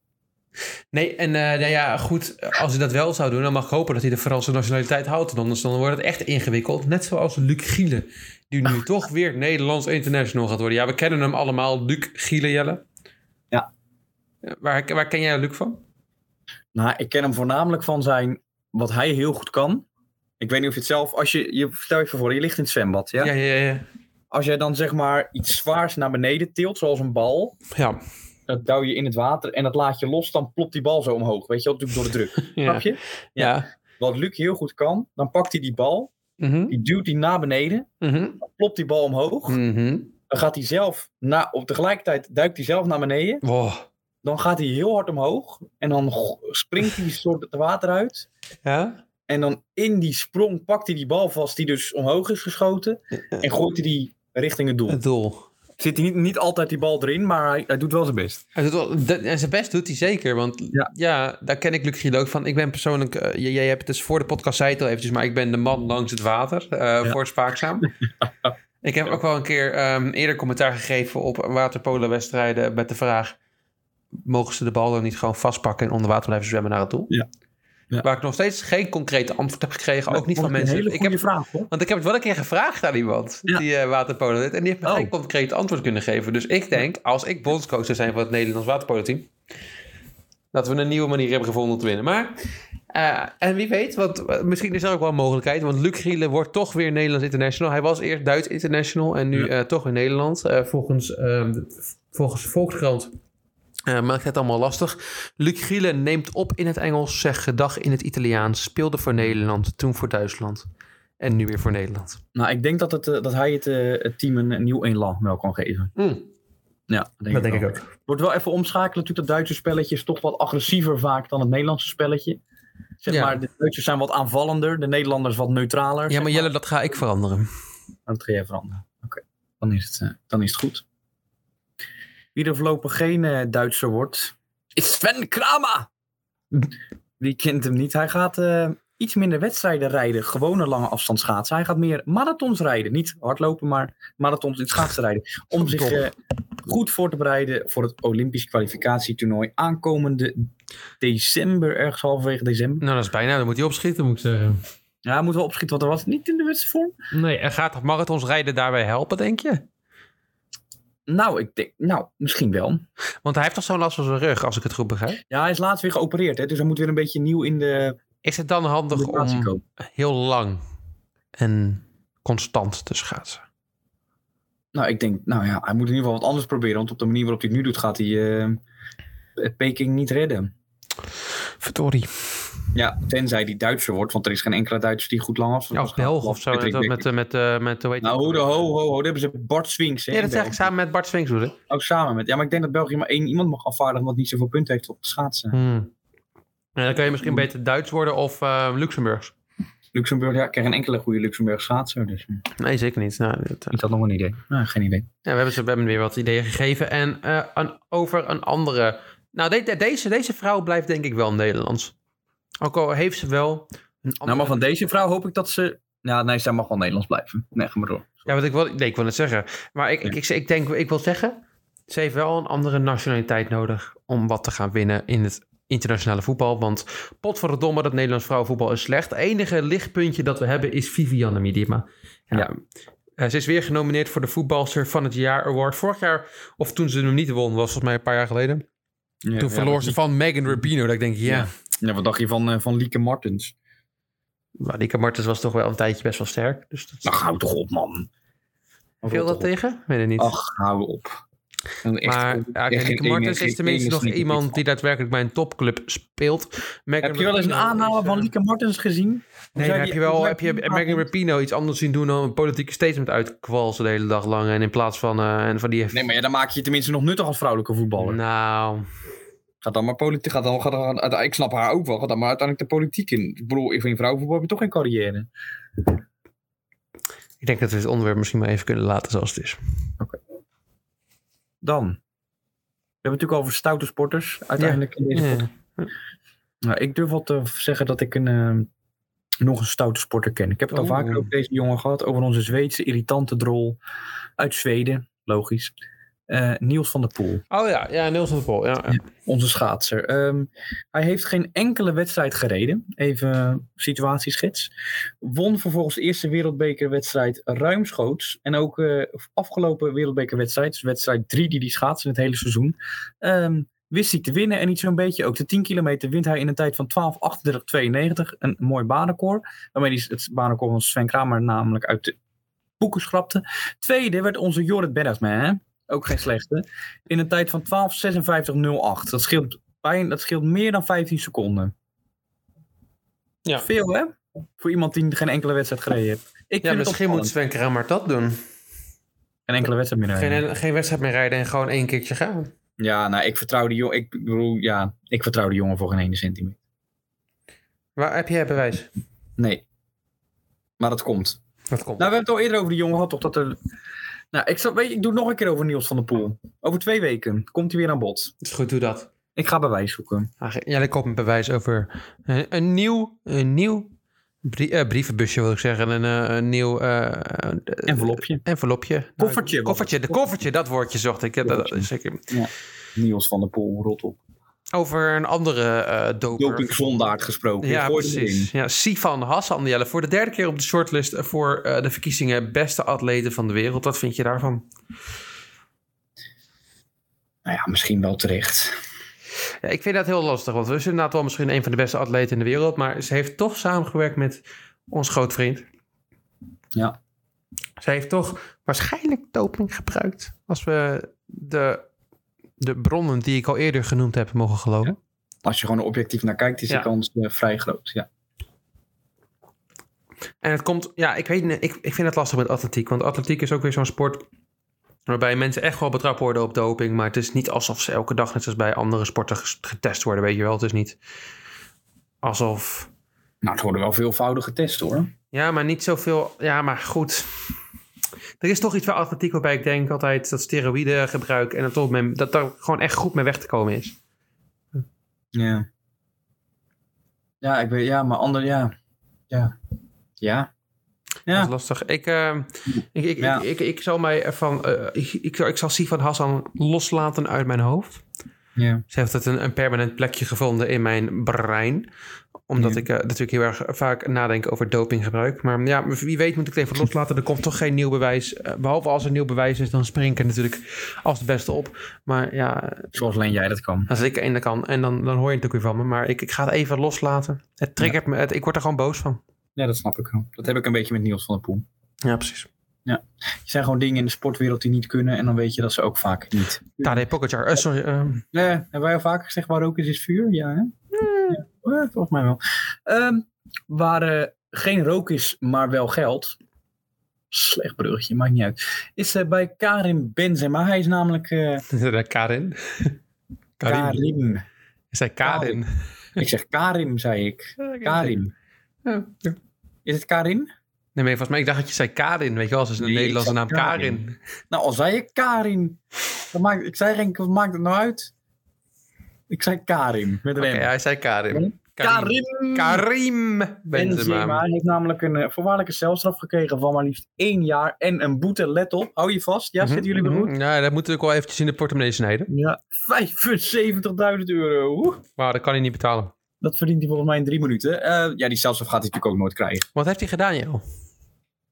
Nee, en eh, nou ja, goed, als hij dat wel zou doen, dan mag ik hopen dat hij de Franse nationaliteit houdt. En anders dan wordt het echt ingewikkeld. Net zoals Luc Gielen, die nu toch weer Nederlands international gaat worden. Ja, we kennen hem allemaal, Luc Gielen, Jelle. Ja. Eh, Waar, waar ken jij Luc van? Nou, ik ken hem voornamelijk van zijn, wat hij heel goed kan. Ik weet niet of je het zelf, als je, je stel je even voor, je ligt in het zwembad, ja? ja, ja. ja. Als jij dan zeg maar iets zwaars naar beneden tilt, zoals een bal, ja. dat duw je in het water en dat laat je los, dan plopt die bal zo omhoog, weet je wel, natuurlijk door de druk, ja. snap je? ja. Wat Luc heel goed kan, dan pakt hij die bal, Mhm, die duwt hij naar beneden, mhm, dan plopt die bal omhoog, mhm. dan gaat hij zelf, na, op tegelijkertijd duikt hij zelf naar beneden, Wow. dan gaat hij heel hard omhoog en dan go- springt hij soort het water uit Ja? En dan in die sprong pakt hij die bal vast, die dus omhoog is geschoten. En gooit hij die richting het doel. Het doel. Zit hij niet, niet altijd die bal erin, maar hij, hij doet wel zijn best. Hij doet wel- dat- en zijn best doet hij zeker. Want ja, Ja. daar ken ik Luc Giel ook van. Ik ben persoonlijk... eh, j- jij hebt het dus voor de podcast zei het al eventjes... maar ik ben de man langs het water eh, voor Spaakzaam. ik heb ook wel een keer ehm, eerder commentaar gegeven... op waterpolenwedstrijden met de vraag... mogen ze de bal dan niet gewoon vastpakken... en onder water blijven zwemmen naar het doel? Ja. Ja. Waar ik nog steeds geen concrete antwoord heb gekregen. Ook niet van mensen. Een hele ik goede heb, vraag, hoor. want ik heb het wel een keer gevraagd aan iemand Ja. die eh waterpolo deed. En die heeft me Oh. geen concreet antwoord kunnen geven. Dus ik denk, als ik bondscoach zou zijn van het Nederlands waterpolo-team, dat we een nieuwe manier hebben gevonden om te winnen. Maar, eh, en wie weet, want eh, misschien is er ook wel een mogelijkheid. Want Luc Gielen wordt toch weer Nederlands international. Hij was eerst Duits international en nu eh, toch weer Nederland. Eh, volgens, ehm, volgens Volkskrant eh, maakt het allemaal lastig. Luc Gielen neemt op in het Engels, zegt gedag in het Italiaans. Speelde voor Nederland, toen voor Duitsland. En nu weer voor Nederland. Nou, ik denk dat, het, eh, dat hij het, eh, het team een, een nieuw elan wel kan geven. Ja, Hmm, dat denk ik wel. ook. Wordt wel even omschakelen. Natuurlijk, dat Duitse spelletje is toch wat agressiever vaak dan het Nederlandse spelletje. Zeg Ja. maar, de Duitsers zijn wat aanvallender, de Nederlanders wat neutraler. Ja, zeg maar Jelle, dat ga ik veranderen. Dat ga jij veranderen. Oké, dan, is het, eh, dan is het goed. Wie er voorlopig geen eh, Duitser wordt, is Sven Kramer. Wie kent hem niet? Hij gaat eh, iets minder wedstrijden rijden, gewone lange afstand schaatsen. Hij gaat meer marathons rijden. Niet hardlopen, maar marathons in schaatsen rijden. Om zich eh, goed voor te bereiden voor het Olympisch kwalificatietoernooi aankomende december, ergens halverwege december. Nou, dat is bijna. Dan moet hij opschieten, moet ik zeggen. Ja, moeten we opschieten, want er was het niet in de wedstrijdvorm. Nee, en gaat dat marathons rijden daarbij helpen, denk je? Nou, ik denk, nou, misschien wel. Want hij heeft toch zo'n last van zijn rug, als ik het goed begrijp? Ja, hij is laatst weer geopereerd, hè, dus hij moet weer een beetje nieuw in de Is het dan handig situatie om komen. heel lang en constant te schaatsen? Nou, ik denk, nou ja, hij moet in ieder geval wat anders proberen, want op de manier waarop hij het nu doet, gaat hij eh, het Peking niet redden. Verdorie. Ja, tenzij hij Duitser wordt, want er is geen enkele Duitser die goed lang af. Ja, of Belg of zo. Met, met, met, met, eh, met hoe heet die? Nou, ho, de ho, ho, ho, daar hebben ze Bart Swings. hè, Nee, in dat zeg ik België. samen met Bart Swings, hoor. Ook samen met. Ja, maar ik denk dat België maar één iemand mag afvaardigen wat niet zoveel punten heeft op het schaatsen. Hmm. Ja, dan kun je misschien beter Duits worden of eh, Luxemburgs. Luxemburg, ja, ik ken geen enkele goede Luxemburg schaatser, dus eh, Nee, zeker niet. Nou, dat, eh, ik had nog een idee. Nou, geen idee. ja, we, hebben ze, we hebben weer wat ideeën gegeven. En eh, een- over een andere. Nou, de- de- deze, deze vrouw blijft denk ik wel Nederlands. Ook al heeft ze wel een andere... Nou, maar van deze vrouw hoop ik dat ze. Nou, nee, zij mag wel Nederlands blijven. Nee, ga maar door. Ja, wat ik wil, nee, ik wil het zeggen. Maar ik, ik, ik, ik denk, ik wil zeggen, ze heeft wel een andere nationaliteit nodig om wat te gaan winnen in het internationale voetbal. Want potverdomme, dat Nederlands vrouwenvoetbal is slecht. Het enige lichtpuntje dat we hebben is Vivianne Miedema. Ja. Eh, ze is weer genomineerd voor de voetbalster van het jaar award. Vorig jaar, of toen ze hem niet won, was volgens mij een paar jaar geleden. toen verloor ze van Megan Rapinoe. Dat ik denk, ja, Ja. Ja, wat dacht je van, eh, van Lieke Martens? Maar Lieke Martens was toch wel een tijdje best wel sterk. Dus dat, Nou, hou toch op, man. viel dat tegen? Weet het niet. Ach, hou op. En echt- maar echt ja, geen Nicky ene- Martens geen is tenminste ene nog sneaker iemand pick. die daadwerkelijk bij een topclub speelt. Megan Heb je wel eens een Rapinoe aanhaler is, van eh, Lieke Martens gezien? Nee, Zou heb die- je wel zou heb je die- Megan Rapino iets anders zien doen dan een politieke statement uitkwalsen de hele dag lang. En in plaats van, eh, en van die... Nee, maar ja, dan maak je je tenminste nog nuttig als vrouwelijke voetballer. Nou, Gaat dan maar politiek. Gaat dan, gaat dan, uit- ik snap haar ook wel. Gaat dan maar uiteindelijk de politiek in. Ik bedoel, in vrouwenvoetbal heb je toch geen carrière. ik denk dat we het onderwerp misschien maar even kunnen laten zoals het is. Dan. We hebben het natuurlijk over stoute sporters. Uiteindelijk in deze Ja. Nou, ik durf wel te zeggen dat ik een, eh, nog een stoute sporter ken. Ik heb het al Oh. vaker over deze jongen gehad. Over onze Zweedse irritante drol uit Zweden. Logisch. Eh, Niels van der Poel. Oh ja, ja, Niels van der Pol. Ja, ja. Onze schaatser. Ehm, hij heeft geen enkele wedstrijd gereden. Even eh, situatieschets. Won vervolgens de eerste wereldbekerwedstrijd ruimschoots. En ook eh, afgelopen wereldbekerwedstrijd, dus wedstrijd 3 die hij schaatsen het hele seizoen. ehm, wist hij te winnen en niet zo'n beetje. Ook de 10 kilometer wint hij in een tijd van 12.38.92. Een mooi baanrecord. Waarmee hij het baanrecord van Sven Kramer namelijk uit de boeken schrapte. Tweede werd onze Jorrit Bergsma, hè? Ook geen slechte. In een tijd van 12.56.08. Dat scheelt, bijna, dat scheelt meer dan 15 seconden. Ja. Veel, hè? Voor iemand die geen enkele wedstrijd gereden heeft. Ik ja vind misschien het moet opvallend. Sven Kramer dat doen. Geen enkele wedstrijd meer rijden. Geen, geen wedstrijd meer rijden en gewoon één keertje gaan. Ja, nou, ik vertrouw, die jongen, ik, bedoel, ja, ik vertrouw die jongen voor geen ene centimeter. Waar heb jij bewijs? Nee. Maar dat komt. Dat komt. Nou, we hebben het al eerder over die jongen gehad, toch? Dat er... Nou, ik, zal, weet je, ik doe het nog een keer over Niels van der Poel. Over twee weken komt hij weer aan bod. is goed, doe dat. Ik ga bewijs zoeken. Ah, ge- Ja, ik op een bewijs over eh, een nieuw, een nieuw brie- eh, brievenbusje, wil ik zeggen. Een, eh, een nieuw eh, eh, Envelopje. envelopje. Nou, Koffertje. koffertje, de koffertje, dat woordje zocht ik. Ja, dat, Koffertje. zeker. Niels van der Poel, rot op. Over een andere eh doper. Dopingzondaard gesproken. Ja, Gooi hem precies. Ja, Sifan Hassan Jelle, voor de derde keer op de shortlist voor eh, de verkiezingen beste atleten van de wereld. Wat vind je daarvan? erin. Nou ja, misschien wel terecht. Ja, ik vind dat heel lastig, want we zijn inderdaad wel misschien een van de beste atleten in de wereld, maar ze heeft toch samengewerkt met ons grootvriend. Ja. Ze heeft toch waarschijnlijk doping gebruikt. Als we de, de bronnen die ik al eerder genoemd heb mogen geloven. Als je gewoon er objectief naar kijkt, is de Ja. kans eh, vrij groot. Ja. En het komt, ja, ik weet niet, ik, ik vind het lastig met atletiek. Want atletiek is ook weer zo'n sport waarbij mensen echt wel betrapt worden op doping. Maar het is niet alsof ze elke dag, net als bij andere sporten, ges- getest worden. Weet je wel, het is niet alsof. Nou, het worden wel veelvoudige tests hoor. Ja, maar niet zoveel. Ja, maar goed. Er is toch iets bij atletiek waarbij ik denk altijd dat steroïden gebruik en dat, toch men- dat daar gewoon echt goed mee weg te komen is. Ja. Ja, ik weet, ja, maar ander, ja. Ja. Ja. Dat Ja. is lastig. Ik, eh, ik, ik, Ja. ik, ik, ik zal mij ervan. eh, ik, ik, zal- ik zal Sifan Hassan loslaten uit mijn hoofd. Ja. Ze heeft het een, een permanent plekje gevonden in mijn brein. Omdat Ja. ik eh, natuurlijk heel erg vaak nadenk over dopinggebruik. Maar ja, wie weet moet ik het even loslaten. Er komt toch geen nieuw bewijs. Eh, behalve als er nieuw bewijs is, dan spring ik er natuurlijk als de beste op. Maar ja, Zoals alleen jij dat kan. als ik einde kan. En dan, dan hoor je het natuurlijk weer van me. Maar ik, ik ga het even loslaten. Het triggert me. Het, ik word er gewoon boos van. Ja, dat snap ik wel. Dat heb ik een beetje met Niels van der Poel. Ja, precies. Er zijn gewoon dingen in de sportwereld die niet kunnen. En dan weet je dat ze ook vaak niet. Tadej Pogacar. Eh, sorry. eh, Nee, hebben wij al vaker gezegd waar ook is, is vuur? Ja, hè? Ja, eh, volgens mij wel. Ehm, waar eh, geen rook is, maar wel geld. Slecht bruggetje, maakt niet uit. Is eh, bij Karim Benzema. Hij is namelijk eh Karin. Karim. Karim. Is hij Karin? Ik zeg Karim, zei ik. Karim. Ja, ja. Is het Karim? Nee, maar volgens mij, ik dacht dat je zei Karin. Weet je wel, ze is een Nee, ik Nederlandse zei naam Karin. Karin. Nou, al zei ik Karim. Dat maakt, ik zei geen, wat maakt het nou uit? Ik zei Karim. Met een Oké, M. hij zei Karim. Karim. Karim Benzema. Benzema heeft namelijk een eh, voorwaardelijke celstraf gekregen van maar liefst één jaar en een boete. Let op, hou je vast. Ja, Mhm, zitten jullie mhm. er goed? Ja, dat moeten we ook wel eventjes in de portemonnee snijden. Ja, 75.000 euro. Oeh, Maar dat kan hij niet betalen. Dat verdient hij volgens mij in drie minuten. Eh, ja, die celstraf gaat hij natuurlijk ook nooit krijgen. Wat heeft hij gedaan, joh?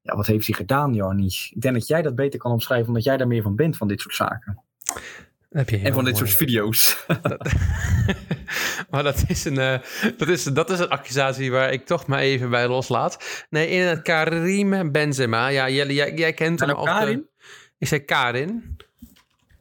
Ja, wat heeft hij gedaan, Jarnie? Ik denk dat jij dat beter kan omschrijven, omdat jij daar meer van bent, van dit soort zaken. Dat Heb je heel en van dit mooi. soort video's. maar dat is, een, eh, dat, is, dat is een accusatie waar ik toch maar even bij loslaat. Nee, in het Karim Benzema. Ja, Jelle, jij, jij kent hem En ook als de- Karin? Ik zei Karin.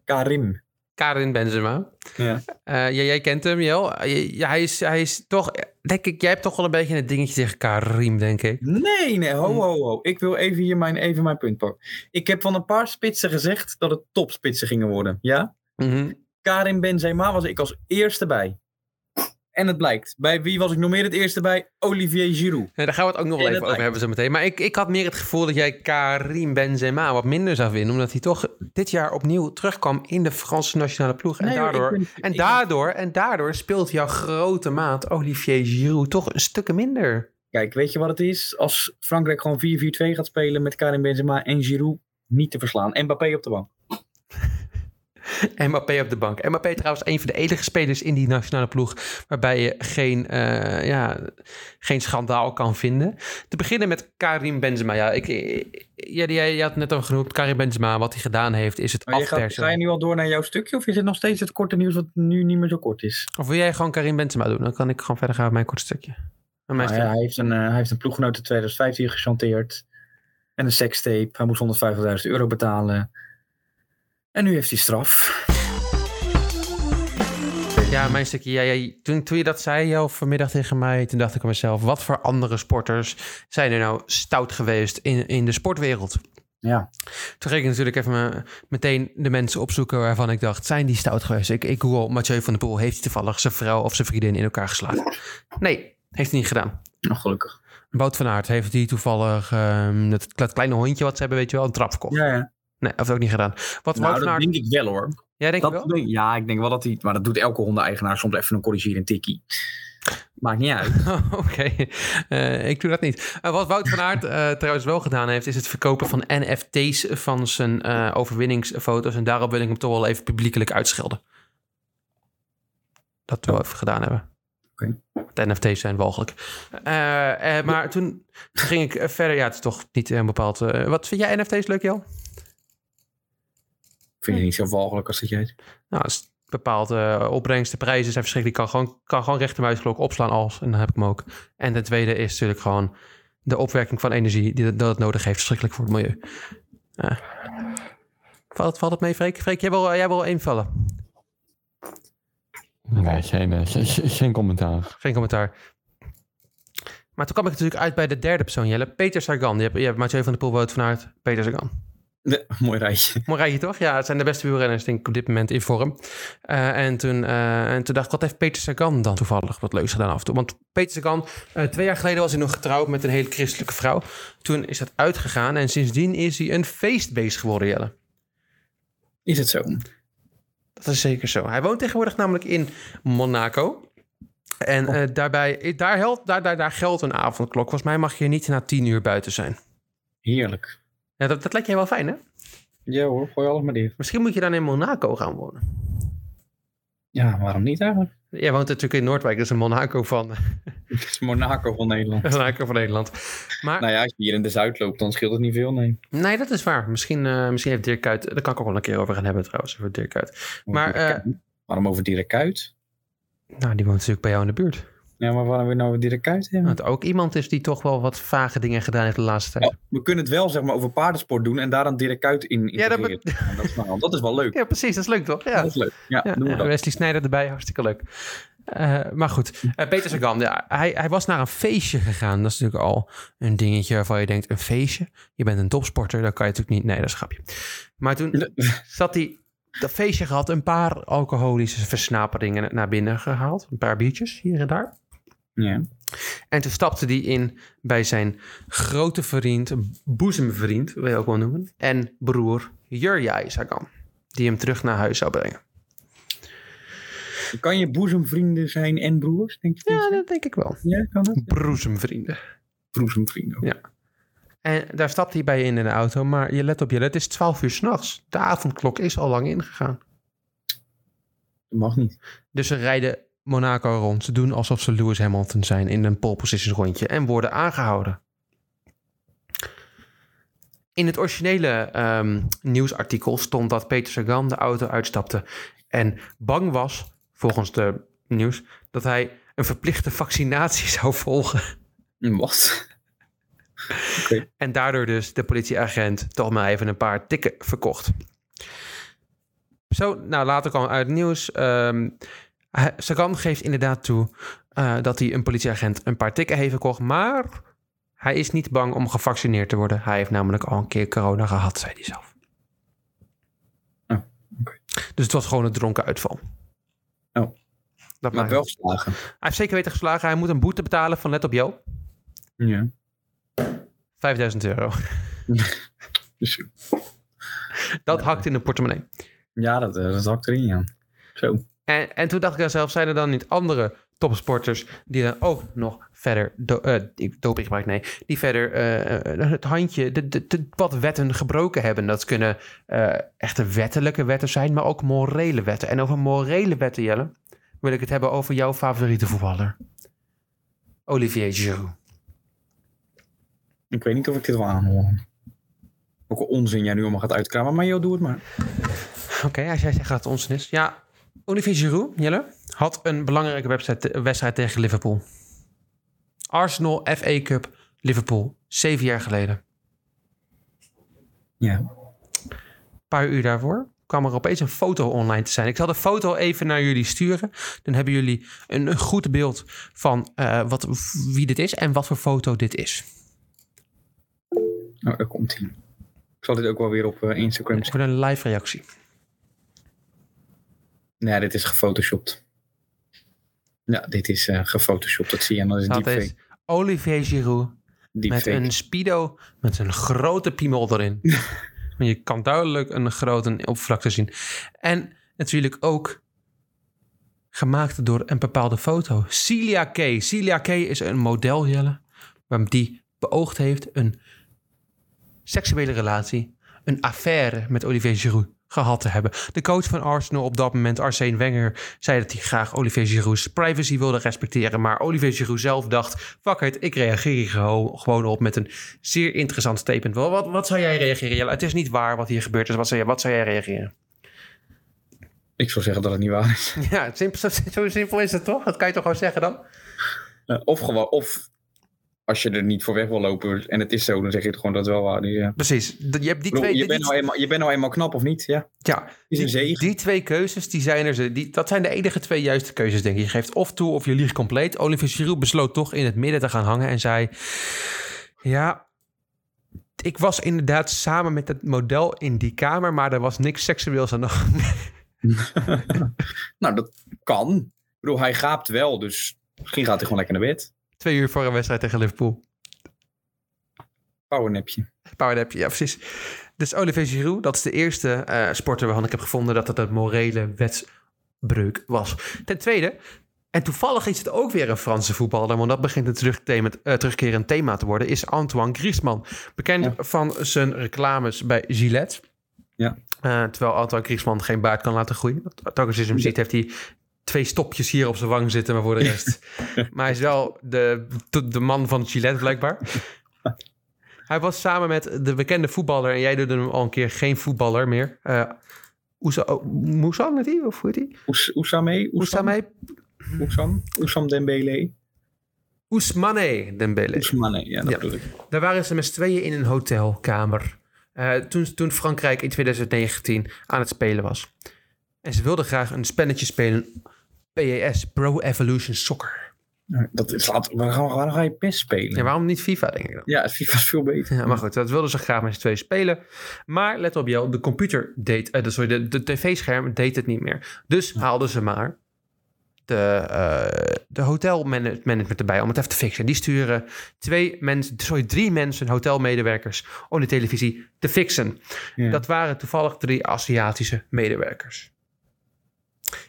Karim. Karin Benzema. Ja. Eh, ja, jij kent hem, Jel. Eh, Ja, hij, is, hij is toch... Denk ik, jij hebt toch wel een beetje een dingetje tegen Karim, denk ik. Nee, nee, ho, ho, ho. Ik wil even hier mijn, even mijn punt pakken. Ik heb van een paar spitsen gezegd dat het topspitsen gingen worden. Ja? Mhm. Karim Benzema was ik als eerste bij. En het blijkt. Bij wie was ik nog meer het eerste bij? Olivier Giroud. Nee, Eh, daar gaan we het ook nog wel En even dat over hebben zo meteen. Maar ik, ik had meer het gevoel dat jij Karim Benzema wat minder zou winnen. Omdat hij toch dit jaar opnieuw terugkwam in de Franse nationale ploeg. En Nee, hoor, ik daardoor, ben- en ik- daardoor, en daardoor speelt jouw grote maat Olivier Giroud toch een stukje minder. Kijk, weet je wat het is? Als Frankrijk gewoon 4-4-2 gaat spelen met Karim Benzema en Giroud niet te verslaan. En Mbappé op de bank. Mbappé op de bank. Mbappé trouwens een van de enige spelers in die nationale ploeg... waarbij je geen, eh, ja, geen schandaal kan vinden. Te beginnen met Karim Benzema. Ja, ik, jij, jij had net al genoemd, Karim Benzema, wat hij gedaan heeft, is het Maar je Oh, gaat, afpersen. ga je nu al door naar jouw stukje? Of is het nog steeds het korte nieuws wat nu niet meer zo kort is? Of wil jij gewoon Karim Benzema doen? Dan kan ik gewoon verder gaan met mijn kort stukje. Met mijn Nou ja, hij, heeft een, eh, hij heeft een ploeggenoot in 2015 gechanteerd. En een sekstape. Hij moest 150.000 euro betalen. En nu heeft hij straf. stukje. Ja, mijn stukje. Ja, ja, toen, toen je dat zei jou vanmiddag tegen mij, toen dacht ik aan mezelf... wat voor andere sporters zijn er nou stout geweest in, in de sportwereld? Ja. Toen ging ik natuurlijk even me- meteen de mensen opzoeken waarvan ik dacht... zijn die stout geweest? Ik, ik google Mathieu van der Poel. Heeft hij toevallig zijn vrouw of zijn vriendin in elkaar geslagen? Nee, heeft hij niet gedaan. Nog Oh, gelukkig. Wout van Aert heeft die toevallig... ehm, dat, dat kleine hondje wat ze hebben, weet je wel, een trap verkocht. Ja, ja. Nee, heeft het ook niet gedaan. Oh. Wat Wout Nou, van dat Aert... denk ik wel hoor. Jij denkt Dat wel? denk- ja, ik denk wel dat hij. Maar dat doet elke hondeneigenaar soms even een corrigerend tikkie. Maakt niet uit. Oh, Oké, Eh, ik doe dat niet. Eh, wat Wout van Aert eh, trouwens wel gedaan heeft, is het verkopen van NFT's van zijn eh, overwinningsfoto's. En daarop wil ik hem toch wel even publiekelijk uitschelden. Dat we wel even gedaan hebben. Oké. Want NFT's zijn walgelijk. Eh, eh, maar toen ging ik eh, verder. Ja, het is toch niet een bepaald. eh, wat vind jij NFT's leuk, Jel? Vind je niet zo walgelijk als dat jij het. Nou, als bepaalde opbrengsten, prijzen zijn verschrikkelijk. Ik kan gewoon, kan gewoon rechtermuisklok opslaan als, en dan heb ik hem ook. En ten tweede is natuurlijk gewoon de opwerking van energie die dat- dat het nodig heeft, verschrikkelijk voor het milieu. Ja. Valt, het- valt het mee, Freek? Freek, jij wil, eh, jij wil invallen. Nee, geen, eh, ge- ge- geen commentaar. Geen commentaar. Maar toen kwam ik natuurlijk uit bij de derde persoon, Jelle. Peter Sagan. Je hebt, je hebt Mathieu van der Poel, Wout van Aert, Peter Sagan. Nee, mooi rijtje. Mooi rijtje, toch? Ja, het zijn de beste wielrenners, denk ik, op dit moment in vorm. Eh, en, toen, eh, en toen dacht ik, wat heeft Peter Sagan dan toevallig wat leuks gedaan af en toe? Want Peter Sagan, eh, twee jaar geleden was hij nog getrouwd met een hele christelijke vrouw. Toen is dat uitgegaan en sindsdien is hij een feestbeest geworden, Jelle. Is het zo? Dat is zeker zo. Hij woont tegenwoordig namelijk in Monaco. En eh, daarbij, daar, helpt, daar, daar, daar geldt een avondklok. Volgens mij mag je niet na tien uur buiten zijn. Heerlijk. Ja, dat, dat lijkt je wel fijn, hè? Ja hoor, gooi alles maar neer. Misschien moet je dan in Monaco gaan wonen. Ja, waarom niet eigenlijk? Jij woont natuurlijk in Noordwijk, dat is een Monaco van, Het is Monaco van Nederland. Monaco van Nederland. Maar Nou ja, als je hier in de Zuid loopt, dan scheelt het niet veel, nee. nee, dat is waar. Misschien, eh, misschien heeft Dirk Kuyt, daar kan ik ook wel een keer over gaan hebben trouwens, over Dirk Kuyt. Maar, eh, waarom over Dirk Kuyt? Nou, die woont natuurlijk bij jou in de buurt. Ja, maar waarom we nou over Dirk Kuyt hebben? Want ook iemand is die toch wel wat vage dingen gedaan heeft de laatste tijd. Ja, Oh, we kunnen het wel zeg maar over paardensport doen en daar dan Dirk Kuyt in Ja, dat integreren. Ja, dat, is, nou, dat is wel leuk. Ja, precies. Dat is leuk toch? Dat is leuk. Ja, Ja, doen we en dat. Wesley Snijder erbij, hartstikke leuk. Eh, maar goed, Eh, Peter Sagan, ja, hij, hij was naar een feestje gegaan. Dat is natuurlijk al een dingetje waarvan je denkt, een feestje? Je bent een topsporter, dat kan je natuurlijk niet. Nee, dat is een grapje. Maar toen zat hij, dat feestje gehad, een paar alcoholische versnaperingen naar binnen gehaald. Een paar biertjes hier en daar. Ja. En toen stapte hij in bij zijn grote vriend, boezemvriend, wil je ook wel noemen, en broer Jurjai Sagan, die hem terug naar huis zou brengen. Kan je boezemvrienden zijn en broers, denk je? Ja, dat denk ik wel. Ja, kan dat? Broezemvrienden. Boezemvrienden. ook. Ja. En daar stapt hij bij je in in de auto, maar je let op je, het is 12 uur s'nachts. De avondklok is al lang ingegaan. Dat mag niet. Dus ze rijden Monaco rond. Ze doen alsof ze Lewis Hamilton zijn in een pole position rondje en worden aangehouden. In het originele ehm, nieuwsartikel stond dat Peter Sagan de auto uitstapte en bang was, volgens de nieuws, dat hij een verplichte vaccinatie zou volgen. Mm, Wat? En daardoor dus de politieagent toch maar even een paar tikken verkocht. Zo, nou later kwam uit het nieuws. ehm, hij- Sagan geeft inderdaad toe eh, dat hij een politieagent een paar tikken heeft verkocht. Maar hij is niet bang om gevaccineerd te worden. Hij heeft namelijk al een keer corona gehad, zei hij zelf. Oh, oké. Dus het was gewoon een dronken uitval. Oh. Dat Maar maakt wel niet. geslagen. Hij heeft zeker weten geslagen. Hij moet een boete betalen van let op jou. Ja. 5000 euro. Dus, Dat hakt in de portemonnee. ja, dat, eh, dat hakt erin, ja. Zo. En, en toen dacht ik aan zelf, zijn er dan niet andere topsporters die dan ook nog verder do, eh, die- dopinggebruik, nee, die verder eh, eh, het handje, de, de, de- wat wetten gebroken hebben. Dat kunnen eh, echte wettelijke wetten zijn, maar ook morele wetten. En over morele wetten, Jelle, wil ik het hebben over jouw favoriete voetballer. Olivier Giroud. Ik weet niet of ik dit wil aanhoren. Ook een onzin jij nu allemaal gaat uitkramen, maar joh, doe het maar. Oké, als jij zegt dat het onzin is. Ja, Olivier Giroud, Jelle, had een belangrijke website- wedstrijd tegen Liverpool. Arsenal FA Cup Liverpool, zeven jaar geleden. Ja. Een paar uur daarvoor kwam er opeens een foto online te zijn. Ik zal de foto even naar jullie sturen. Dan hebben jullie een, een goed beeld van eh, wat, wie dit is en wat voor foto dit is. Nou, daar komt hij. Ik zal dit ook wel weer op eh, Instagram zetten. Voor een live reactie. Nee, dit is gefotoshopt. Ja, dit is eh, gefotoshopt. Dat zie je. En dat is Dat is deepfake. Olivier Giroud Met Deepfake. een speedo met een grote piemel erin. Want je kan duidelijk een grote oppervlakte zien. En natuurlijk ook gemaakt door een bepaalde foto. Celia K. Celia K. is een model, Jelle, waar- die beoogd heeft een seksuele relatie, een affaire met Olivier Giroud gehad te hebben. De coach van Arsenal op dat moment, Arsene Wenger, zei dat hij graag Olivier Giroud's privacy wilde respecteren. Maar Olivier Giroud zelf dacht, fuck it, ik reageer hier geho- gewoon op met een zeer interessant statement. Wel, Wat, wat zou jij reageren? Jelle? Het is niet waar wat hier gebeurd is. Wat zou jij, wat zou jij reageren? Ik zou zeggen dat het niet waar is. Ja, simpel, zo simpel is het toch? Dat kan je toch gewoon zeggen dan? Eh, of gewoon, of als je er niet voor weg wil lopen en het is zo, dan zeg je het gewoon dat het wel waar is. Ja. Precies. De- Je hebt die Ik bedoel, twee... je, die- bent nou eenmaal, je bent nou eenmaal knap of niet, ja. ja, Is een die, zegen. die twee keuzes, die zijn er, ze- die, dat zijn de enige twee juiste keuzes, denk ik. Je geeft of toe of je liegt compleet. Olivier Giroud besloot toch in het midden te gaan hangen en zei... Ja, ik was inderdaad samen met het model in die kamer, maar er was niks seksueels aan de hand. Nou, dat kan. Ik bedoel, hij gaapt wel, dus misschien gaat hij gewoon lekker naar bed. Twee uur voor een wedstrijd tegen Liverpool. Powernapje. Powernapje, ja precies. Dus Olivier Giroud, dat is de eerste eh, sporter waarvan ik heb gevonden dat dat een morele wetsbreuk was. Ten tweede, en toevallig is het ook weer een Franse voetballer, want dat begint een terugthema- eh, terugkerend thema te worden, is Antoine Griezmann. Bekend Ja. van zijn reclames bij Gillette. Ja. Eh, terwijl Antoine Griezmann geen baard kan laten groeien. Dat Tarkus is hem ziet, heeft hij twee stopjes hier op zijn wang zitten, maar voor de rest. maar hij is wel de, de, de man van Gillette blijkbaar. hij was samen met de bekende voetballer, en jij doet hem al een keer geen voetballer meer. Eh Ousa- oh, Moussa met die, of hoe heet die? Ous- Ousame? Ousame? Ousameh Ousam? Ousam Dembele? Ousmane Dembele. Ousmane, ja, dat Ja. bedoel ik. Daar waren ze met z'n tweeën in een hotelkamer. eh, toen, toen Frankrijk in 2019 aan het spelen was. En ze wilden graag een spelletje spelen. PES, Pro Evolution Soccer. Dat is, laat, waar, gaan we- waar ga je PES spelen? En waarom niet FIFA, denk ik dan? Ja, FIFA is veel beter. Ja, maar goed, dat wilden ze graag met z'n tweeën spelen. Maar let op, Jel, de computer deed... eh, de- sorry, de, de tv-scherm deed het niet meer. Dus haalden ze maar de, eh de hotelmanagement erbij om het even te fixen. Die sturen twee mensen, sorry, drie mensen, hotelmedewerkers... om de televisie te fixen. Ja. Dat waren toevallig drie Aziatische medewerkers.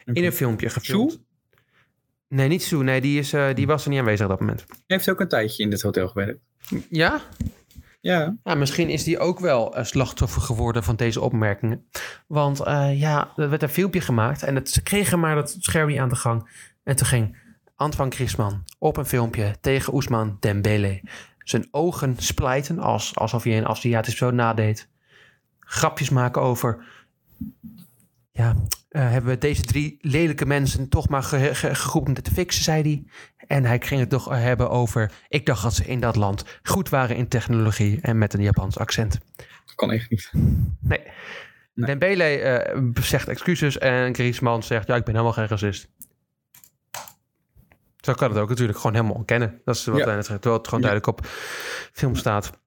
Oké. In een filmpje gefilmd. Nee, niet Sue. Nee, die, is, eh, Hm. die was er niet aanwezig op dat moment. Heeft ook een tijdje in dit hotel gewerkt. Ja? Ja, Ja, misschien is die ook wel een slachtoffer geworden van deze opmerkingen. Want eh, ja, er werd een filmpje gemaakt en het, ze kregen maar dat scherm niet aan de gang. En toen ging Antoine Griezmann op een filmpje tegen Ousmane Dembele. Zijn ogen splijten als, alsof hij een Aziatisch persoon nadeed. Grapjes maken over... Ja, eh, hebben we deze drie lelijke mensen toch maar ge- ge- geroepen om dit te fixen, zei hij. En hij ging het nog hebben over... Ik dacht dat ze in dat land goed waren in technologie en met een Japans accent. dat kan echt niet. Nee. Nee. Dembele eh, zegt excuses en Griezmann zegt... Ja, ik ben helemaal geen racist. Zo kan het ook natuurlijk gewoon helemaal ontkennen. Dat is wat Ja. hij net zegt, terwijl het gewoon Ja. duidelijk op film staat.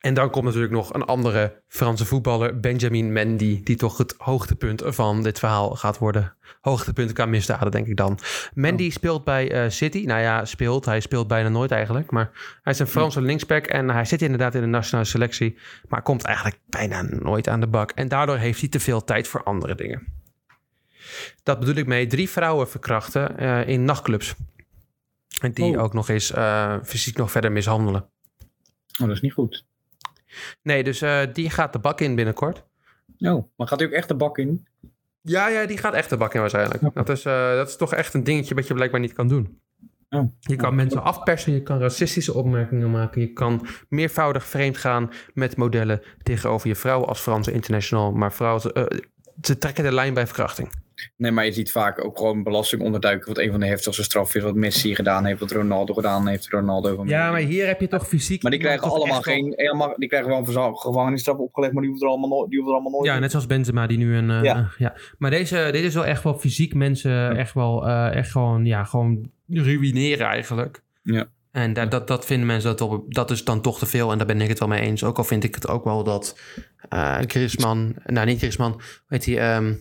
En dan komt natuurlijk nog een andere Franse voetballer, Benjamin Mendy... die toch het hoogtepunt van dit verhaal gaat worden. Hoogtepunt qua misdaden, denk ik dan. Mendy speelt bij eh, City. Nou ja, speelt. Hij speelt bijna nooit eigenlijk. Maar hij is een Franse linksback en hij zit inderdaad in de nationale selectie. Maar komt eigenlijk bijna nooit aan de bak. En daardoor heeft hij te veel tijd voor andere dingen. Dat bedoel ik mee. Drie vrouwen verkrachten eh, in nachtclubs. En die Oh. ook nog eens eh, fysiek nog verder mishandelen. Oh, dat is niet goed. Nee, dus eh, die gaat de bak in binnenkort. Oh, maar gaat hij ook echt de bak in? Ja, ja, die gaat echt de bak in waarschijnlijk. Dat is, eh, dat is toch echt een dingetje wat je blijkbaar niet kan doen. Oh. Je kan mensen afpersen, je kan racistische opmerkingen maken, je kan meervoudig vreemd gaan met modellen tegenover je vrouw als Franse international. Maar vrouwen, eh, ze trekken de lijn bij verkrachting. Nee, maar je ziet vaak ook gewoon belasting onderduiken. Wat een van de heftigste straffen is. Wat Messi gedaan heeft. Wat Ronaldo gedaan heeft. Ronaldo van hier heb je toch fysiek. Maar die krijgen allemaal geen. helemaal- die krijgen wel een verza- gevangenisstraf opgelegd. Maar die hoeven er allemaal, no- die hoeven er allemaal nooit. Ja, net zoals Benzema die nu een... eh, Ja. ja. Maar deze, dit is wel echt wel fysiek mensen echt wel eh, echt gewoon, ja, gewoon ruïneren eigenlijk. Ja. En dat, dat, dat vinden mensen, dat, op, dat is dan toch te veel. En daar ben ik het wel mee eens. Ook al vind ik het ook wel dat eh Griezmann, nou niet Griezmann, weet hij, ehm,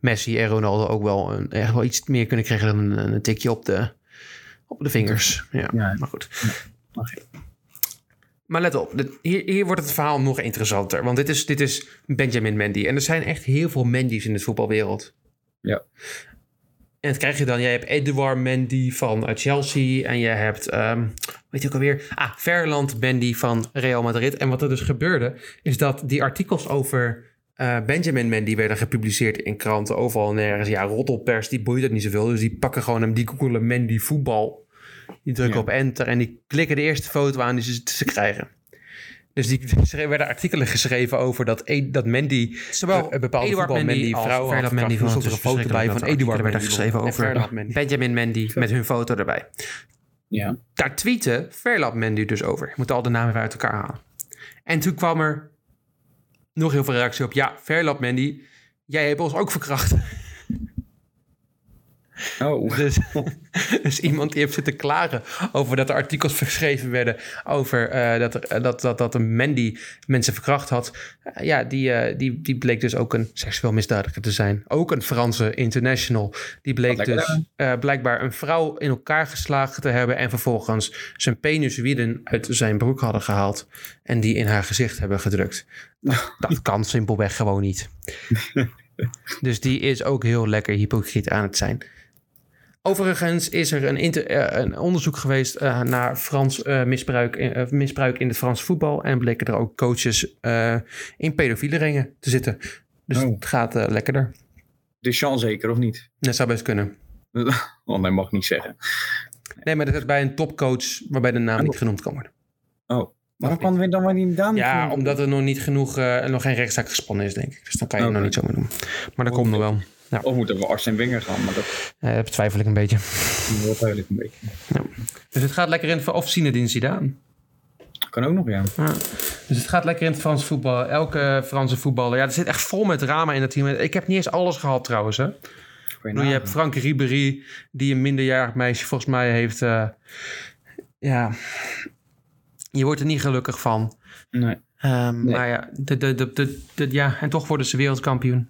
Messi en Ronaldo ook wel, een, echt wel iets meer kunnen krijgen dan een, een tikje op de, op de vingers. Ja, Ja. maar goed. Mag ik? Maar let op, dit- hier, hier wordt het verhaal nog interessanter. Want dit is, dit is Benjamin Mendy. En er zijn echt heel veel Mendy's in de voetbalwereld. Ja. En dat krijg je dan. Jij hebt Edouard Mendy van eh, Chelsea. En je hebt, ehm weet je ook alweer? Ah, Ferland Mendy van Real Madrid. En wat er dus gebeurde, is dat die artikels over eh, Benjamin Mendy werden gepubliceerd in kranten overal en nergens. Ja, roddelpers, die boeit het niet zoveel. Dus die pakken gewoon hem, die googelen Mendy voetbal. Die drukken Ja. op enter en die klikken de eerste foto aan die ze, ze krijgen. Dus die er werden artikelen geschreven over dat, E- dat Mandy Zowel een bepaalde Eduard voetbal Mendy Mandy als vrouwen Ferdinand Mendy van stond er een het foto bij verschrikkelijk van dat Eduard Mendy artikelen werden geschreven en over Ferdinand Mendy. Benjamin Mandy met hun foto erbij. Ja. Daar tweette Ferlab Mendy dus over. Je moet al de namen even uit elkaar halen. En toen kwam er nog heel veel reactie op. Ja, Ferlab Mendy, jij hebt ons ook verkracht. Oh. Dus, dus iemand die heeft zitten klagen over dat er artikels geschreven werden over eh, dat, er, dat, dat, dat een Mandy mensen verkracht had. Eh, ja, die, eh, die, die bleek dus ook een seksueel misdadiger te zijn. Ook een Franse international. Die bleek Wat lekker dus eh, blijkbaar een vrouw in elkaar geslagen te hebben en vervolgens zijn peniswieden uit zijn broek hadden gehaald en die in haar gezicht hebben gedrukt. Dat, dat kan simpelweg gewoon niet. Dus die is ook heel lekker hypocriet aan het zijn. Overigens is er een, inter- eh, een onderzoek geweest eh, naar Frans eh, misbruik, in- eh, misbruik in het Franse voetbal. En bleken er ook coaches eh, in pedofiele ringen te zitten. Dus Oh. het gaat eh, lekkerder. Deschamps zeker, of niet? Dat zou best kunnen. Want hij mag niet zeggen. Nee, maar dat is bij een topcoach waarbij de naam niet genoemd kan worden. Oh, Waarom kan we dan maar niet gedaan? Ja, omdat er nog niet genoeg, eh, nog geen rechtszaak gespannen is, denk ik. Dus dan kan je het Oké. nog niet zomaar doen. Maar dat komt nog wel. of moeten we Arsene Wenger gaan, maar dat Eh, dat twijfel ik een beetje. wordt eigenlijk een beetje. Dus het gaat lekker in of Zinedine Zidane. Kan ook nog, ja. Dus het gaat lekker in het Frans voetbal. Elke Franse voetballer. Ja, er zit echt vol met drama in dat team. Ik heb niet eens alles gehad trouwens. Hè. Ik Kan bedoel, je hebt nagaan. Frank Ribéry, die een minderjarig meisje volgens mij heeft. eh, ja, je wordt er niet gelukkig van. Nee. Ehm, Nee. Maar ja, de, de, de, de, de- ja, en toch worden ze wereldkampioen.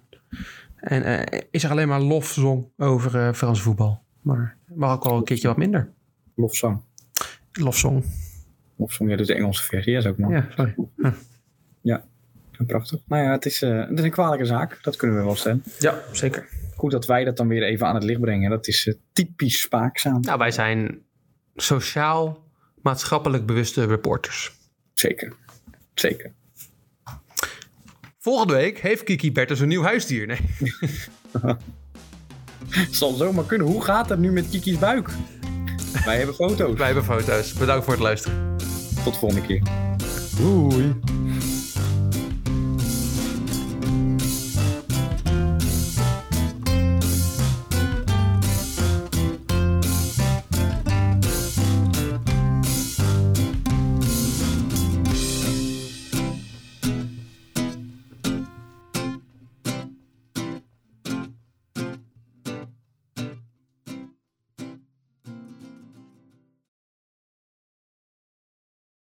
En eh, is er alleen maar lofzong over eh Frans voetbal. Maar mag ook wel een keertje wat minder. Lofzang. Lofzong. Lofzang, ja, dus de Engelse versie is ook nog. Ja, sorry. Prachtig. Nou ja, het is, eh, het is een kwalijke zaak. Dat kunnen we wel stellen. Ja, zeker. Goed dat wij dat dan weer even aan het licht brengen. Dat is eh, typisch spaakzaam. Nou, wij zijn sociaal, maatschappelijk bewuste reporters. Zeker. Zeker. Volgende week heeft Kiki Bertens een nieuw huisdier. Nee. Het zal zomaar kunnen. Hoe gaat het nu met Kiki's buik? Wij hebben foto's. Wij hebben foto's. Bedankt voor het luisteren. Tot volgende keer. Doei.